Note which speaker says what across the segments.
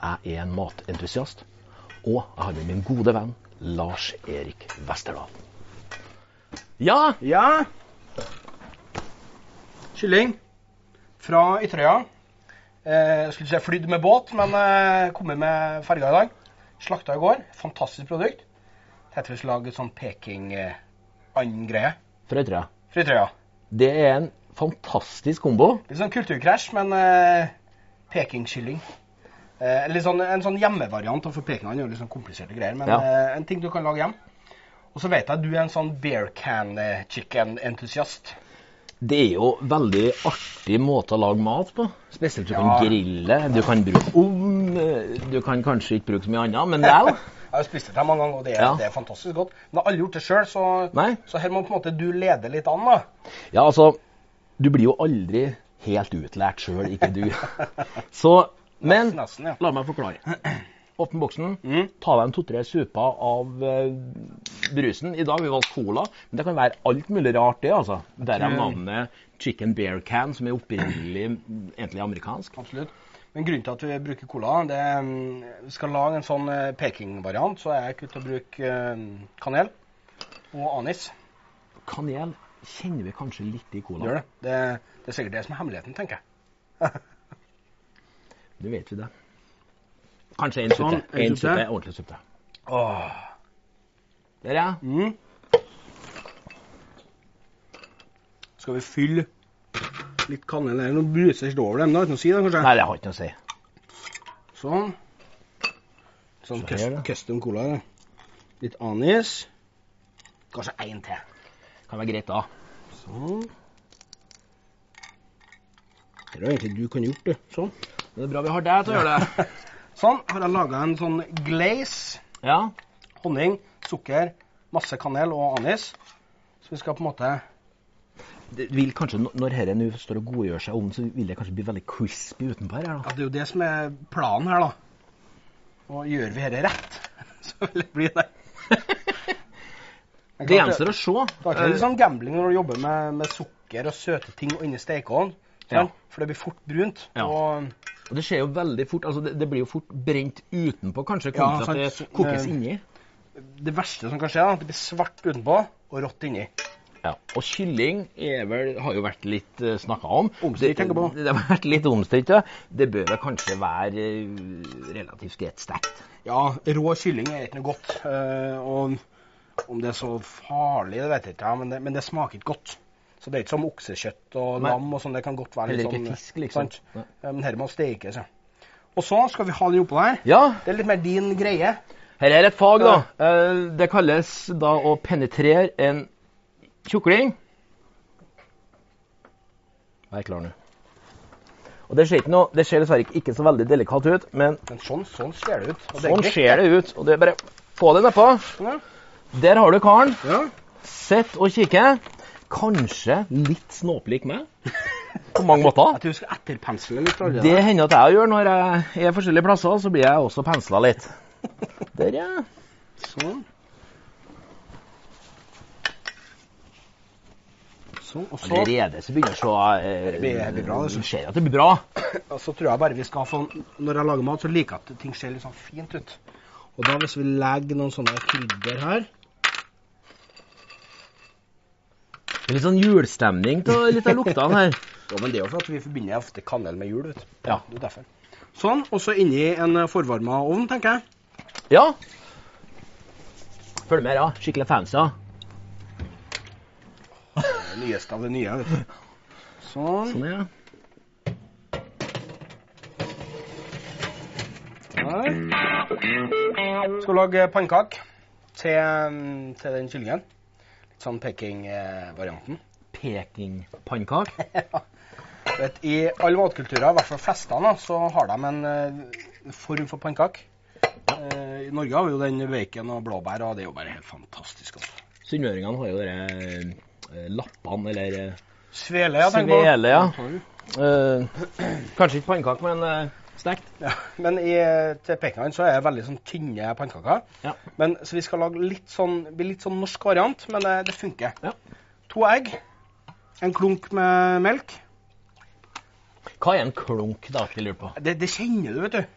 Speaker 1: Jeg er en matentusiast. Og jeg har med min gode venn Lars Erik Westerdal. Ja,
Speaker 2: Ja. Kylling fra Ytterøya. Eh, skulle ikke si flydd med båt, men eh, kommet med ferga i dag. Slakta i går. Fantastisk produkt. Tenkte vi skulle lage et sånn Peking-and-greie
Speaker 1: fra Ytterøya.
Speaker 2: fra Ytterøya.
Speaker 1: Det er en fantastisk kombo.
Speaker 2: Litt sånn kulturkrasj, men eh, Peking-kylling. Eh, litt sånn, en sånn hjemmevariant, for pekingene er jo litt sånn kompliserte greier. Men
Speaker 1: Ja.
Speaker 2: eh, en ting du kan lage hjem. Og så vet jeg at du er en sånn bear can eh, chicken-entusiast.
Speaker 1: Det er jo veldig artig måte å lage mat på. Spesielt du kan
Speaker 2: Ja.
Speaker 1: grille, du kan bruke ovn, eh, du kan kanskje ikke bruke så mye annet, men lell.
Speaker 2: Jeg har spist det her mange ganger, og det er,
Speaker 1: Ja.
Speaker 2: det er fantastisk godt. Men jeg har aldri gjort det sjøl, så,
Speaker 1: Nei.
Speaker 2: så her må på en måte du lede litt an, da.
Speaker 1: Ja, altså, du blir jo aldri helt utlært sjøl, ikke du. Så, men
Speaker 2: Nesten, altså. ja.
Speaker 1: la meg forklare. Åpne boksen,
Speaker 2: Mm.
Speaker 1: ta deg en to-tre super av eh, brusen. I dag har vi valgt cola, men det kan være alt mulig rart, det, altså. Derav
Speaker 2: tror-
Speaker 1: navnet Chicken Bear Can, som er opprinnelig mm, egentlig amerikansk.
Speaker 2: Absolutt. Men grunnen til at vi bruker cola, det er mm, vi skal lage en sånn eh, Peking-variant, så er jeg ikke ute å bruke eh, kanel og anis.
Speaker 1: Kanel kjenner vi kanskje litt i cola.
Speaker 2: Gjør det. det. Det er sikkert det som er hemmeligheten, tenker jeg.
Speaker 1: Det vet vi det. Kanskje en suppe.
Speaker 2: Sånn, en
Speaker 1: en
Speaker 2: suppe.
Speaker 1: suppe, ordentlig suppe.
Speaker 2: Åh.
Speaker 1: Der, ja.
Speaker 2: Mm. Skal vi fylle litt kanel eller noe bruser står over dem? da, Ikke noe å si, da, kanskje?
Speaker 1: Nei, det har ikke noe å si.
Speaker 2: Sånn. Sånn
Speaker 1: Så
Speaker 2: cus-
Speaker 1: her, ja.
Speaker 2: custom cola. da. Litt anis. Kanskje én til.
Speaker 1: Kan være greit, da.
Speaker 2: Sånn. Det er jo egentlig du kunne gjort, det. Sånn.
Speaker 1: Men Det er bra vi har deg til å gjøre det.
Speaker 2: Sånn. Her har jeg laga en sånn glaze.
Speaker 1: Ja.
Speaker 2: Honning, sukker, masse kanel og anis. Så vi skal på en måte
Speaker 1: Det vil kanskje, n- Når dette nå står og godgjør seg om, så vil det kanskje bli veldig crispy utenpå her.
Speaker 2: Ja,
Speaker 1: da.
Speaker 2: det er jo det som er planen her, da. Og gjør vi dette rett, så vil det bli det.
Speaker 1: Det
Speaker 2: Men klart
Speaker 1: gjenstår å se.
Speaker 2: Det er ikke
Speaker 1: Eh.
Speaker 2: litt sånn gambling når du jobber med, med sukker og søte ting og inni stekeovnen. sant? For det blir fort brunt.
Speaker 1: Ja.
Speaker 2: Og,
Speaker 1: Eh, og Det skjer jo veldig fort. altså Det, det blir jo fort brent utenpå, kanskje,
Speaker 2: Ja,
Speaker 1: kontra at det
Speaker 2: sant.
Speaker 1: kokes
Speaker 2: Eh,
Speaker 1: inni.
Speaker 2: det verste som kan skje, er at det blir svart utenpå og rått inni.
Speaker 1: Ja, Og kylling er vel, har jo vært litt uh, snakka om.
Speaker 2: Omstridt, tenker jeg på.
Speaker 1: Det, det har vært litt omstridt, ja. Det bør vel kanskje være eh, relativt greit stekt.
Speaker 2: Ja, rå kylling er ikke noe godt. eh, og om det er så farlig, det vet jeg ikke, ja, men det, men det smaker ikke godt. Så det er ikke som oksekjøtt og
Speaker 1: Nei.
Speaker 2: lam og sånn. Det kan godt være litt
Speaker 1: Heller ikke
Speaker 2: sånn
Speaker 1: fisk, liksom.
Speaker 2: sant?
Speaker 1: Nei.
Speaker 2: Eh, Men dette må stekes, ja. Og så skal vi ha det oppå her.
Speaker 1: Ja,
Speaker 2: Det er litt mer din greie.
Speaker 1: her er et fag, da. Eh, Det kalles da å penetrere en tjukling. Vær klar nå. Og Det ser, ikke noe, det ser dessverre ikke- ikke så veldig delikat ut, men
Speaker 2: Men sånn, sånn ser det ut. og det er
Speaker 1: sånn
Speaker 2: greit.
Speaker 1: ser det ut. Og det er bare få det nedpå.
Speaker 2: Ja.
Speaker 1: Der har du karen.
Speaker 2: Ja.
Speaker 1: Sitt og kikke. Kanskje litt snåpelig meg, på mange måter.
Speaker 2: Jeg tror vi skal etterpensle litt. tror jeg.
Speaker 1: Det hender at jeg gjør når jeg er forskjellige plasser, så blir jeg også pensla litt. Der, ja.
Speaker 2: Sånn. Sånn, og så,
Speaker 1: Allerede så begynner jeg å se eh,
Speaker 2: Det blir- det blir bra, altså. det, så.
Speaker 1: Du ser at det blir bra.
Speaker 2: og så tror jeg bare vi skal få Når jeg lager mat, så liker jeg at ting ser litt sånn fint ut. Og da hvis vi legger noen sånne krydder her
Speaker 1: Det er litt sånn julestemning til litt av luktene her.
Speaker 2: Jo, men det er jo for at vi forbinder ofte kanel med jul, vet du.
Speaker 1: Ja.
Speaker 2: Det er derfor. Sånn. Og så inni en eh, forvarma ovn, tenker jeg.
Speaker 1: Ja. Følg med, ja. Skikkelig fancy. ja.
Speaker 2: Det nyeste av det nye. vet du. Sånn.
Speaker 1: Sånn, ja.
Speaker 2: Der. Skal lage eh, pannekake til, mm, til den kyllingen. Litt sånn Peking-varianten.
Speaker 1: Pekingpannekake.
Speaker 2: Vet, I alle matkulturer, i hvert fall flestene, da, så har de en eh, form for pannekake. Eh, I Norge har vi jo den bacon og blåbær, og det er jo bare helt fantastisk. Altså.
Speaker 1: Sunnmøringene har jo dere lappene, eller eh,
Speaker 2: Svele, jeg tenker på.
Speaker 1: svele, ja. Eh, kanskje ikke pannekake, men eh, stekt.
Speaker 2: Ja, men i, til pekingene så er det veldig sånn tynne pannekaker.
Speaker 1: Ja.
Speaker 2: Men, så vi skal lage litt sånn, blir litt sånn norsk variant, men det, det funker.
Speaker 1: Ja.
Speaker 2: To egg, en klunk med melk.
Speaker 1: Hva er en klunk, da? Jeg lurer på.
Speaker 2: Det, det kjenner du, vet du.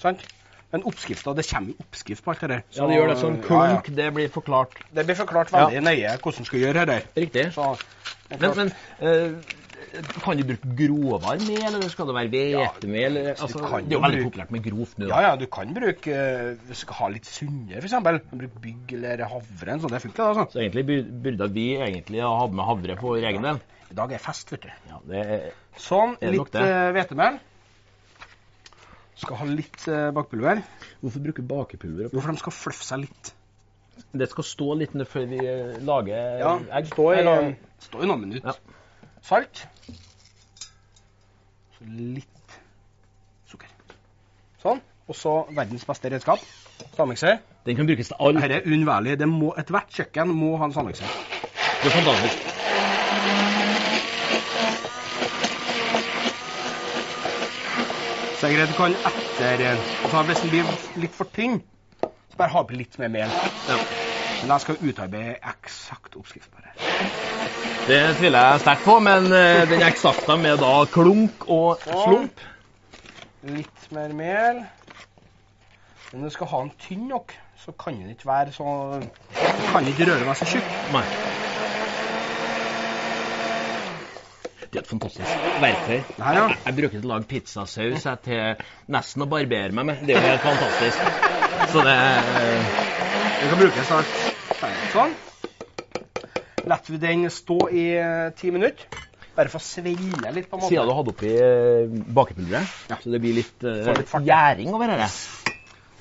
Speaker 2: Sant? Men oppskrifta, det kommer jo oppskrift på alt det der.
Speaker 1: Ja, det gjør det sånn
Speaker 2: ja, ja.
Speaker 1: klunk, det blir forklart.
Speaker 2: Det blir forklart veldig nøye hvordan du skal gjøre det der.
Speaker 1: Riktig.
Speaker 2: Så,
Speaker 1: Men, men eh, kan du bruke grovere mel, eller skal det være hvetemel? eller- altså,
Speaker 2: kan
Speaker 1: det er jo
Speaker 2: jo
Speaker 1: veldig
Speaker 2: bruke-
Speaker 1: populært med grovt nå.
Speaker 2: ja, ja, du kan bruke eh, Hvis du skal ha litt sunne, f.eks. Bruk bygg eller havre. Så det funker, det. altså.
Speaker 1: Så egentlig bur- burde vi egentlig ha hatt med havre på vår egen del.
Speaker 2: I dag er fest, vet du.
Speaker 1: Ja, det er
Speaker 2: Sånn.
Speaker 1: Er det nok
Speaker 2: Litt
Speaker 1: det?
Speaker 2: eh, hvetemel. Skal ha litt eh, bakpulver.
Speaker 1: Hvorfor bruke bakepulver?
Speaker 2: Jo, for de skal fluffe seg litt.
Speaker 1: Det skal stå litt ned før vi eh, lager
Speaker 2: Ja,
Speaker 1: egg.
Speaker 2: Stå i,
Speaker 1: Eller-
Speaker 2: stå i noen minutter.
Speaker 1: Ja.
Speaker 2: Salt. Så litt sukker. Sånn. Og så verdens beste redskap. Stavmikser.
Speaker 1: Den kan brukes til alt.
Speaker 2: Dette er uunnværlig. Det må- Ethvert kjøkken må ha en stavmikser.
Speaker 1: Det er fantastisk.
Speaker 2: Så jeg er redd du kan etter altså Hvis den blir litt for tynn, så bare ha på litt mer mel.
Speaker 1: Ja.
Speaker 2: Men jeg skal utarbeide eksakt oppskrift på det.
Speaker 1: Det tviler jeg sterkt på, men eh, den eksakte med da klunk og slump
Speaker 2: Litt mer mel. Men du skal ha den tynn nok, så kan den ikke være så Kan den ikke røre deg så tjukk.
Speaker 1: Nei. Det er et fantastisk verktøy.
Speaker 2: Det her, ja.
Speaker 1: Jeg bruker til å lage pizzasaus jeg, til nesten å barbere meg med. Det er jo helt fantastisk. Så det eh, er-
Speaker 2: Den kan brukes snart. Sånn. Lar vi den stå i eh, ti minutter. Bare for å svelle litt, på en
Speaker 1: Siden
Speaker 2: måte.
Speaker 1: du hadde oppi eh, bakepulveret,
Speaker 2: Ja.
Speaker 1: så det blir litt, eh,
Speaker 2: Får litt fart.
Speaker 1: gjæring over dette.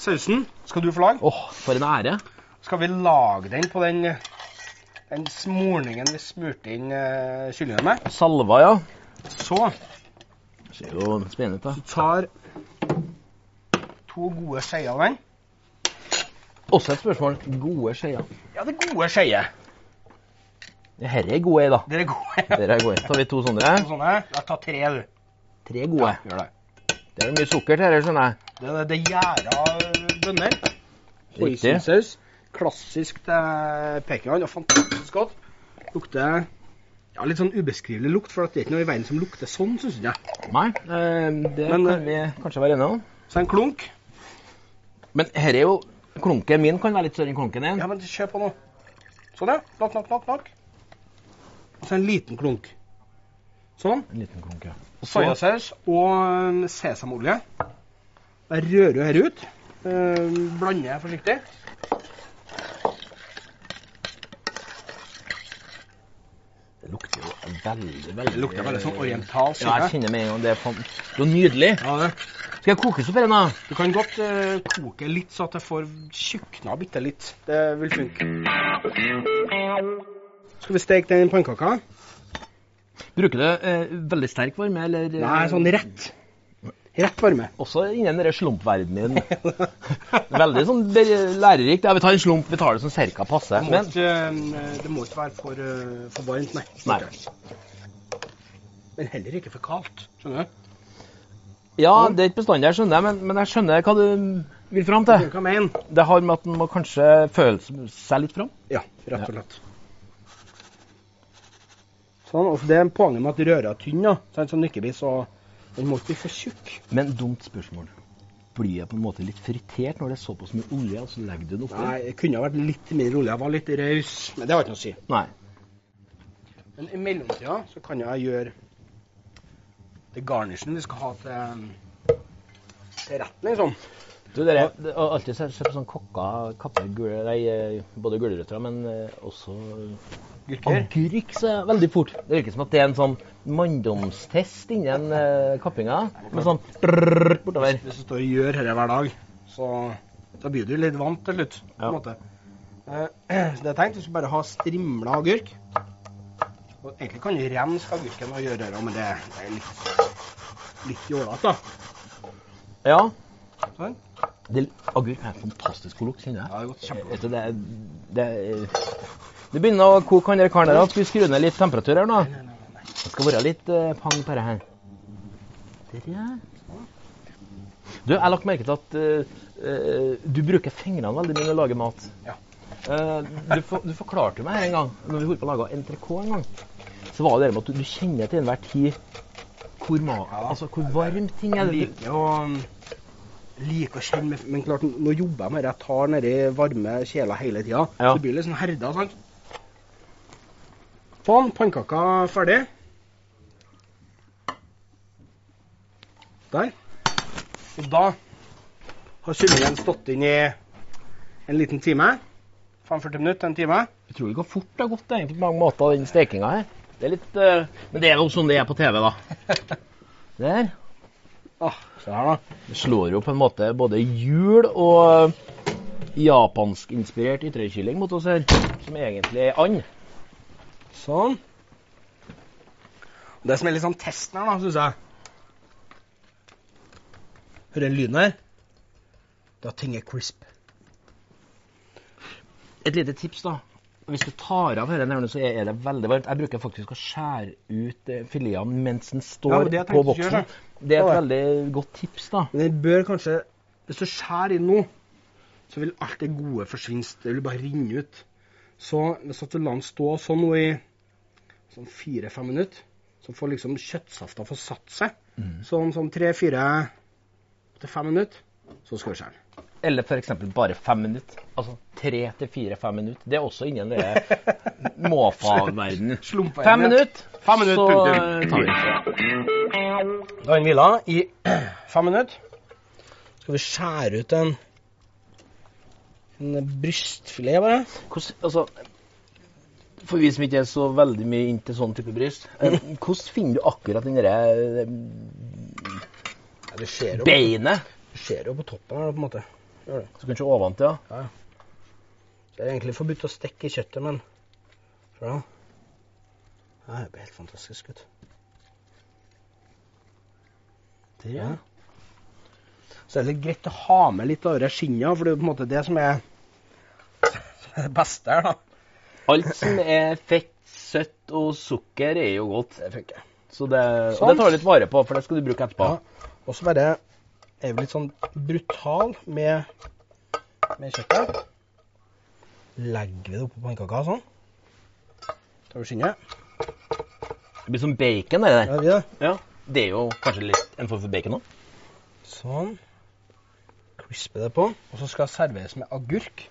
Speaker 2: Sausen skal du få lage.
Speaker 1: Åh, for en ære.
Speaker 2: Skal vi lage den på den, eh, den smorningen vi smurte inn eh, kyllingen med.
Speaker 1: Salva, ja.
Speaker 2: Så
Speaker 1: Ser jo spennende ut, da.
Speaker 2: tar to gode skeier av den.
Speaker 1: Også et spørsmål. Gode skeier.
Speaker 2: Ja, det er gode skeier.
Speaker 1: Dette er gode, da.
Speaker 2: Dere er gode. Sånn
Speaker 1: Dere er gode. Tar vi to sånne?
Speaker 2: Og sånne. Ja, ta tre, du.
Speaker 1: Tre gode.
Speaker 2: Gjør det.
Speaker 1: Det er mye sukker til dette, skjønner jeg.
Speaker 2: Det, det, det er gjæra bønner.
Speaker 1: Riktig.
Speaker 2: Hoisinsaus. Klassisk til Pekingan. Og fantastisk godt. Lukter ja, litt sånn ubeskrivelig lukt, for at det er ikke noe i verden som lukter sånn, syns jeg.
Speaker 1: Nei, eh, det
Speaker 2: Men,
Speaker 1: kan vi kanskje være enige om.
Speaker 2: Så en klunk.
Speaker 1: Men her er jo Klunken min kan være litt større enn klunken din.
Speaker 2: Ja, men kjør på nå. Sånn, ja. Nok, nok, nok. nok. Og så en liten klunk. Sånn.
Speaker 1: En liten klunk, ja.
Speaker 2: Og Soyasaus og eh, sesamolje. Jeg rører jo her ut. Eh, blander forsiktig.
Speaker 1: Det lukter jo veldig, veldig
Speaker 2: Det lukter veldig sånn orientalsk.
Speaker 1: Ja, jeg kjenner med en gang det er fan... Det er nydelig.
Speaker 2: Ja, det.
Speaker 1: Skal jeg kokes opp her nå?
Speaker 2: Du kan godt eh, koke litt, så at det får tjukna bitte litt. Det vil funke. Skal vi steke den pannekaka?
Speaker 1: Bruker du eh, veldig sterk varme, eller eh,
Speaker 2: Nei, sånn rett. Rett varme.
Speaker 1: Også innen den slumpverdenen min. veldig sånn be- lærerikt. Ja, vi tar en slump, vi tar det som cirka passer.
Speaker 2: Det må,
Speaker 1: Men
Speaker 2: ikke, eh, det må ikke være for, eh, for varmt, nei.
Speaker 1: Nei.
Speaker 2: Men heller ikke for kaldt. Skjønner du?
Speaker 1: ja, det er ikke bestandig, jeg skjønner, men, men jeg skjønner hva du vil fram
Speaker 2: Det
Speaker 1: til.
Speaker 2: kan jeg mene.
Speaker 1: Det har med at en må kanskje føle seg litt fram.
Speaker 2: Ja, rett og slett. Sånn, og Det er poenget med at røra er tynn, da. Sånn, så den ikke blir så Den må ikke bli for tjukk.
Speaker 1: Men dumt spørsmål. Blir jeg på en måte litt fritert når det er såpass mye olje, og så legger du den oppi?
Speaker 2: Nei, jeg kunne ha vært litt mindre rolig. Jeg var litt raus, men det har ikke noe å si.
Speaker 1: Nei.
Speaker 2: Men i mellomtida så kan jeg gjøre det garnishen vi skal ha til, til retten, liksom.
Speaker 1: Du, dere, det har alltid sett sett på sånn kokka kapper, gule, nei, eh, både gulrøtter, men eh, også
Speaker 2: Gurker.
Speaker 1: agurk så jeg veldig fort. Det virker som at det er en sånn manndomstest innen eh, kappinga. Med sånn brrrr bortover.
Speaker 2: Hvis du står og gjør dette hver dag, så da blir du litt vant til slutt. på
Speaker 1: Ja.
Speaker 2: en måte. Eh, Så det er tenkt, du skal bare ha strimla agurk. Og egentlig kan du renske agurken og gjøre det, men det det er litt, litt jålete, da.
Speaker 1: Ja.
Speaker 2: Sånn.
Speaker 1: Det, agurk er en fantastisk god lukt, kjenner jeg.
Speaker 2: Ja, det er godt. Kjempegodt.
Speaker 1: Vet du, det, er- det, er- det begynner å koke han der karen der. Skal vi skru ned litt temperatur her nå? Det skal være litt eh, pang på det her. Der, ja. Du, jeg har lagt merke til at eh, eh, du bruker fingrene veldig mye når du lager mat.
Speaker 2: Ja.
Speaker 1: Eh, du, for, du forklarte meg her en gang, når vi holdt på å lage NTRK en gang, så var det det med at du, du kjenner til enhver tid hvor, ma
Speaker 2: Ja.
Speaker 1: altså, hvor varm ting er.
Speaker 2: Jeg liker å liker å kjenne med, Men klart, nå jobber jeg med det. Jeg tar nedi varme kjeler hele tida.
Speaker 1: Ja.
Speaker 2: Så det blir litt sånn herda, sant. Sånn. Pannekaka ferdig. Der. Og da har kyllingen stått inn i en liten time. 45 minutter, en time.
Speaker 1: Utrolig hvor fort det har gått egentlig, på mange måter, den stekinga her. Det er litt, eh, men det er jo sånn det er på TV, da. Der.
Speaker 2: Ah, se her, da.
Speaker 1: Det slår jo på en måte både jul og japanskinspirert ytterkylling mot oss her, som egentlig er and.
Speaker 2: Sånn. Det som er litt sånn testen her, da, syns jeg Hører den lyden her? Da ting er crisp.
Speaker 1: Et lite tips, da. Hvis du tar av dette, så er det veldig varmt. Jeg bruker faktisk å skjære ut eh, filetene mens den
Speaker 2: Ja,
Speaker 1: står
Speaker 2: men det jeg
Speaker 1: på
Speaker 2: tenkte å gjøre,
Speaker 1: boksen. Det er et
Speaker 2: Ja.
Speaker 1: veldig godt tips, da.
Speaker 2: Men den bør kanskje Hvis du skjærer inn nå, så vil alt det gode forsvinne. Det vil bare renne ut. Så hvis at du lar den stå sånn nå i sånn fire-fem minutter, så får liksom kjøttsafta få satt seg. Så om sånn tre-fire til fem minutter, så skal du skjære den.
Speaker 1: Eller f.eks. bare fem minutter. Altså tre til fire-fem minutter. Det er også innen det måfa-verdenen.
Speaker 2: Slumpa
Speaker 1: Fem
Speaker 2: igjen, ja.
Speaker 1: minutter,
Speaker 2: Fem minutter,
Speaker 1: så eh,
Speaker 2: punktum.
Speaker 1: tar vi det.
Speaker 2: Da har den hvila i fem minutter. Skal vi skjære ut en, en brystfilet, bare?
Speaker 1: Hvordan, altså, for vi som ikke er så veldig mye inn til sånn type bryst, eh, hvordan finner du akkurat den derre eh,
Speaker 2: Ja, du ser jo,
Speaker 1: beinet?
Speaker 2: du ser jo på toppen her, på en måte.
Speaker 1: Så kanskje oventil, ja.
Speaker 2: Det er egentlig forbudt å stekke kjøttet, men Se da. Det her blir helt fantastisk ut.
Speaker 1: Der, ja.
Speaker 2: Så er det litt greit å ha med litt av det skinnet, for det er jo på en måte det som er som er det beste her, da.
Speaker 1: Alt som er fett, søtt og sukker, er jo godt.
Speaker 2: Det funker.
Speaker 1: Så det, og
Speaker 2: Sånn.
Speaker 1: det tar du litt vare på, for det skal du bruke etterpå.
Speaker 2: Ja. Og så bare er vi litt sånn brutal med, med kjøttet. Legger vi det oppå pannekaka sånn. Tar vi skinnet.
Speaker 1: Det blir som bacon, det der.
Speaker 2: Ja, vi det.
Speaker 1: Ja. Det er jo kanskje litt en form for bacon òg.
Speaker 2: Sånn. Crispe det på. Og så skal det serveres med agurk.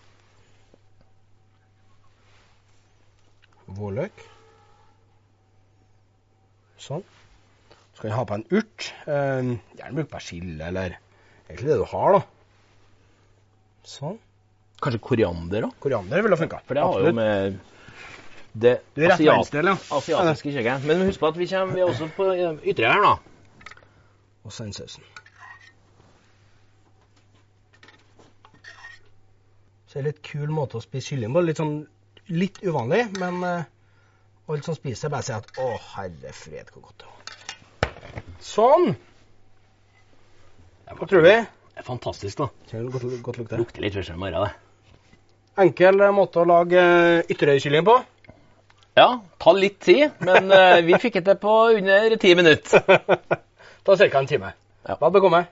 Speaker 2: Vårløk. Sånn. Så kan du ha på en urt. Eh, gjerne bruk persille, eller egentlig det du har, da. Sånn.
Speaker 1: Kanskje koriander òg?
Speaker 2: Koriander ville ha funka.
Speaker 1: For det har jo med det
Speaker 2: Du er rett
Speaker 1: asiat-
Speaker 2: verdensdel, ja.
Speaker 1: asiatiske kjøkkenet. Men husk på at vi, kommer, vi er også på eh, ytre her, da.
Speaker 2: Og så den sausen. Så det er litt kul måte å spise kylling på. Litt sånn litt uvanlig, men eh, alle som spiser, bare sier at å, herre fred, hvor godt det var. Sånn. Hva tror vi?
Speaker 1: Det er fantastisk, da.
Speaker 2: Kjenner du godt, godt lukter?
Speaker 1: Lukter litt først i morgen, det.
Speaker 2: Enkel eh, måte å lage eh, ytterøykylling på.
Speaker 1: Ja, ta litt tid, men eh, vi fikk det til på under ti minutter.
Speaker 2: Ta ca. en time.
Speaker 1: Ja.
Speaker 2: Vel bekomme.